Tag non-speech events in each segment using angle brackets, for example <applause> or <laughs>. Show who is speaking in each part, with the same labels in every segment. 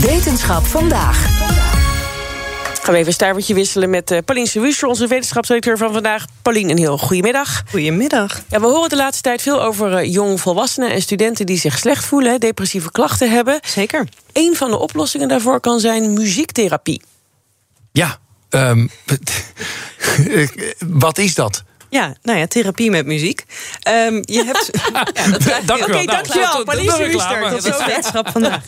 Speaker 1: Wetenschap vandaag.
Speaker 2: Gaan we even een staartje wisselen met eh Pauline Sewusser, onze wetenschapsredacteur van vandaag. Pauline, een heel goedemiddag.
Speaker 3: Goedemiddag.
Speaker 2: Ja, we horen de laatste tijd veel over eh, jongvolwassenen en studenten die zich slecht voelen, hè, depressieve klachten hebben.
Speaker 3: Zeker.
Speaker 2: Een van de oplossingen daarvoor kan zijn muziektherapie.
Speaker 4: Ja, ehm, <laughs> wat is dat?
Speaker 3: Ja, nou ja, therapie met muziek. Ehm, je
Speaker 4: <laughs>
Speaker 3: hebt. ja, dat
Speaker 4: Dank u wel.
Speaker 3: Oké,
Speaker 4: Nou,
Speaker 3: dankjewel.
Speaker 4: tot- tot-
Speaker 3: Pauline
Speaker 4: tot de
Speaker 3: Schuster,
Speaker 4: reclame.
Speaker 3: tot zover wetenschap vandaag.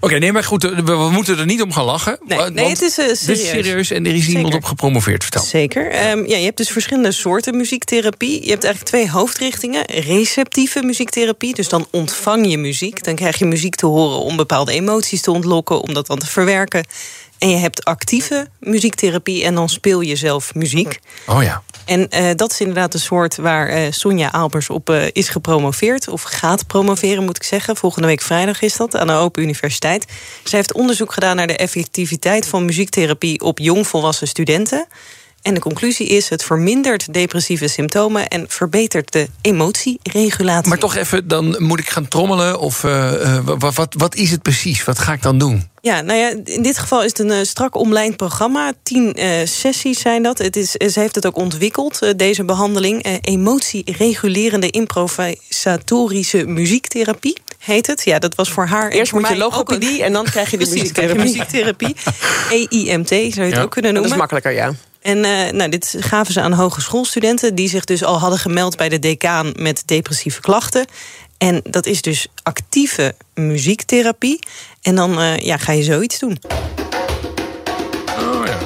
Speaker 4: Oké, nee, maar goed, we, we moeten er niet om gaan lachen.
Speaker 3: Nee,
Speaker 4: want
Speaker 3: nee, het is, eh,
Speaker 4: Dit is
Speaker 3: serieus.
Speaker 4: serieus en er is iemand
Speaker 3: Zeker.
Speaker 4: op gepromoveerd, vertel.
Speaker 3: Zeker. Ehm, ja, je hebt dus verschillende soorten muziektherapie. Je hebt eigenlijk twee hoofdrichtingen. Receptieve muziektherapie, dus dan ontvang je muziek. Dan krijg je muziek te horen om bepaalde emoties te ontlokken, om dat dan te verwerken. En je hebt actieve muziektherapie en dan speel je zelf muziek.
Speaker 4: Oh ja.
Speaker 3: En eh, dat is inderdaad een soort waar eh, Sonja Albers op eh, is gepromoveerd. Of gaat promoveren, moet ik zeggen. Volgende week vrijdag is dat, aan de Open Universiteit. Zij heeft onderzoek gedaan naar de effectiviteit van muziektherapie op jongvolwassen studenten. En de conclusie is: het vermindert depressieve symptomen en verbetert de emotieregulatie.
Speaker 4: Maar toch even, dan moet ik gaan trommelen of eh, eh, wa- wa- wat, wat is het precies? Wat ga ik dan doen?
Speaker 3: Ja, nou ja, in dit geval is het een eh, strak omlijnd programma. Tien eh, sessies zijn dat. Het is, eh, ze heeft het ook ontwikkeld, eh, deze behandeling. Eh, emotieregulerende improvisatorische muziektherapie heet het. Ja, dat was voor haar. en
Speaker 2: Eerst
Speaker 3: voor
Speaker 2: moet je
Speaker 3: mij ook
Speaker 2: logopedie en dan krijg je de
Speaker 3: <laughs> Precies, krijg je
Speaker 2: muziektherapie.
Speaker 3: muziektherapie. E EIMT zou je het
Speaker 4: Ja,
Speaker 3: ook kunnen
Speaker 2: Dat
Speaker 3: noemen.
Speaker 2: is makkelijker, ja.
Speaker 3: En eh, nou, dit gaven ze aan hogeschoolstudenten die zich dus al hadden gemeld bij de decaan met depressieve klachten. En dat is dus actieve muziektherapie. En dan eh, ja, ga je zoiets doen.
Speaker 4: Oh ja.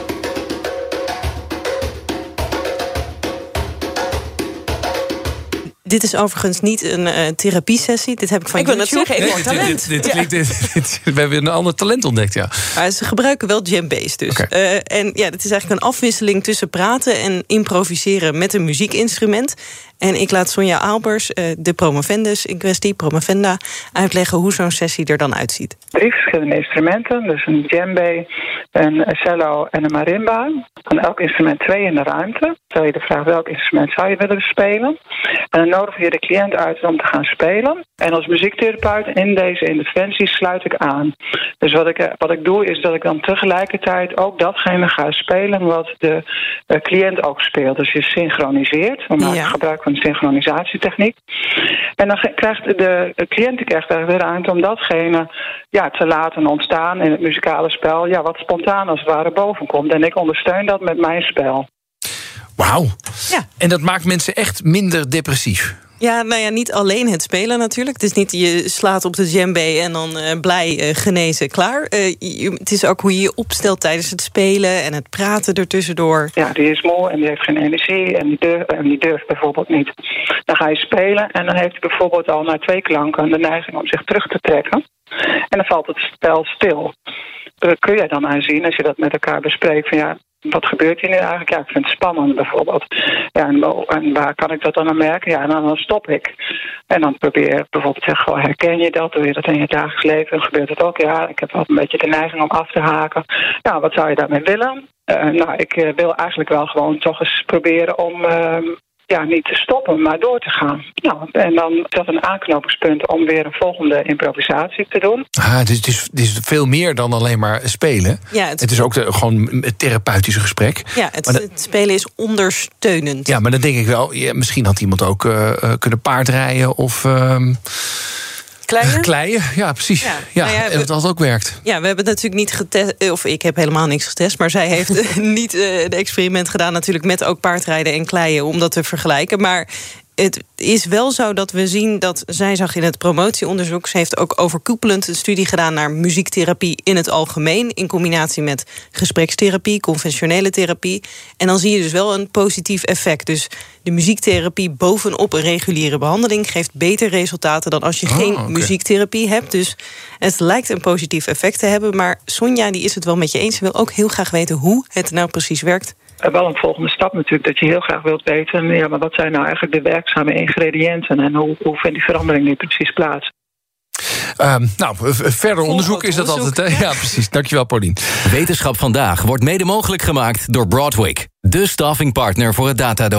Speaker 3: Dit is overigens niet een eh, therapiesessie. Dit heb ik van
Speaker 2: Ik wil net
Speaker 3: YouTube.
Speaker 2: zeggen, ik hoor
Speaker 4: dit, dit,
Speaker 2: talent.
Speaker 4: dit, dit klinkt, <laughs> dit- dit- we hebben een ander talent ontdekt, ja.
Speaker 3: Maar ze gebruiken wel djembe's dus.
Speaker 4: Oké.
Speaker 3: Eh, en ja, het is eigenlijk een afwisseling tussen praten en improviseren met een muziekinstrument. En ik laat Sonja Albers, eh, de promovendus in kwestie, promovenda, uitleggen hoe zo'n sessie er dan uitziet.
Speaker 5: drie verschillende instrumenten. Dus een djembe, een cello en een marimba. Van elk instrument twee in de ruimte. Stel je de vraag welk instrument zou je willen spelen. En dan nodigen je de cliënt uit om te gaan spelen. En als muziektherapeut in deze interventie sluit ik aan. Dus wat ik, eh, wat ik doe is dat ik dan tegelijkertijd ook datgene ga spelen wat de eh, cliënt ook speelt. Dus je synchroniseert. nou We maken
Speaker 3: Ja.
Speaker 5: gebruik van de synchronisatietechniek. En dan ge- krijgt de de cliënt krijgt eigenlijk de ruimte om datgene ja, te laten ontstaan in het muzikale spel. Ja, wat spontaan als het ware bovenkomt. En ik ondersteun dat met mijn spel.
Speaker 4: Wauw.
Speaker 3: Ja.
Speaker 4: En dat maakt mensen echt minder depressief.
Speaker 3: Ja, nou ja, niet alleen het spelen natuurlijk. Het is niet je slaat op de djembe en dan eh, blij eh, genezen, klaar. Eh, je- het is ook hoe je je opstelt tijdens het spelen en het praten ertussendoor.
Speaker 5: Ja, die is moe en die heeft geen energie en die, durft, en die durft bijvoorbeeld niet. Dan ga je spelen en dan heeft hij bijvoorbeeld al na twee klanken de neiging om zich terug te trekken. En dan valt het spel stil. Dat kun jij dan aanzien als je dat met elkaar bespreekt van ja, wat gebeurt hier nu eigenlijk? Ja, ik vind het spannend bijvoorbeeld. Ja, en, wo- en waar kan ik dat dan aan merken? Ja, en dan, dan stop ik. En dan probeer ik bijvoorbeeld te zeggen, goh, herken je dat? Doe je dat in je dagelijks leven? Gebeurt het ook? Ja, ik heb wel een beetje de neiging om af te haken. Nou, wat zou je daarmee willen? Eh, nou, ik eh, wil eigenlijk wel gewoon toch eens proberen om ehm, ja, niet te stoppen, maar door te gaan. Nou, en dan is dat een aanknopingspunt om weer een volgende improvisatie te doen.
Speaker 4: Ah, dus het is, het is veel meer dan alleen maar spelen.
Speaker 3: Ja,
Speaker 4: het,
Speaker 3: het-
Speaker 4: is ook de, gewoon het therapeutische gesprek.
Speaker 3: Ja, het,
Speaker 4: Maar dat-
Speaker 3: het spelen is ondersteunend.
Speaker 4: Ja, maar dan denk ik wel, ja, misschien had iemand ook eh, eh, kunnen paardrijden of ehm, <laughs>
Speaker 2: Kleine?
Speaker 4: kleien. Ja, precies. Ja,
Speaker 3: Ja, nou ja,
Speaker 4: en dat
Speaker 3: we-
Speaker 4: had ook werkt.
Speaker 3: Ja, we hebben natuurlijk niet getest, eh, of ik heb helemaal niks getest, maar zij heeft <laughs> eh, niet eh, een experiment gedaan natuurlijk met ook paardrijden en kleien om dat te vergelijken. Maar eh, het is wel zo dat we zien dat zij zag in het promotieonderzoek. Ze heeft ook overkoepelend een studie gedaan naar muziektherapie in het algemeen. In combinatie met gesprekstherapie, conventionele therapie. En dan zie je dus wel een positief effect. Dus de muziektherapie bovenop een reguliere behandeling geeft beter resultaten dan als je
Speaker 4: Oh,
Speaker 3: geen
Speaker 4: oké.
Speaker 3: muziektherapie hebt. Dus het lijkt een positief effect te hebben. Maar Sonja die is het wel met je eens. Ze wil ook heel graag weten hoe het nou precies werkt.
Speaker 5: En Eh, wel een volgende stap natuurlijk, dat je heel graag wilt weten... ja, maar wat zijn nou eigenlijk de werkzame ingrediënten... en hoe, hoe vindt die verandering nu precies plaats?
Speaker 4: Ehm, nou, v- v- verder onderzoek is dat
Speaker 3: onderzoek,
Speaker 4: altijd. hè? Ja, precies. Dankjewel, Paulien.
Speaker 6: Wetenschap vandaag wordt mede mogelijk gemaakt door Broadwick, de staffingpartner voor het datadomein.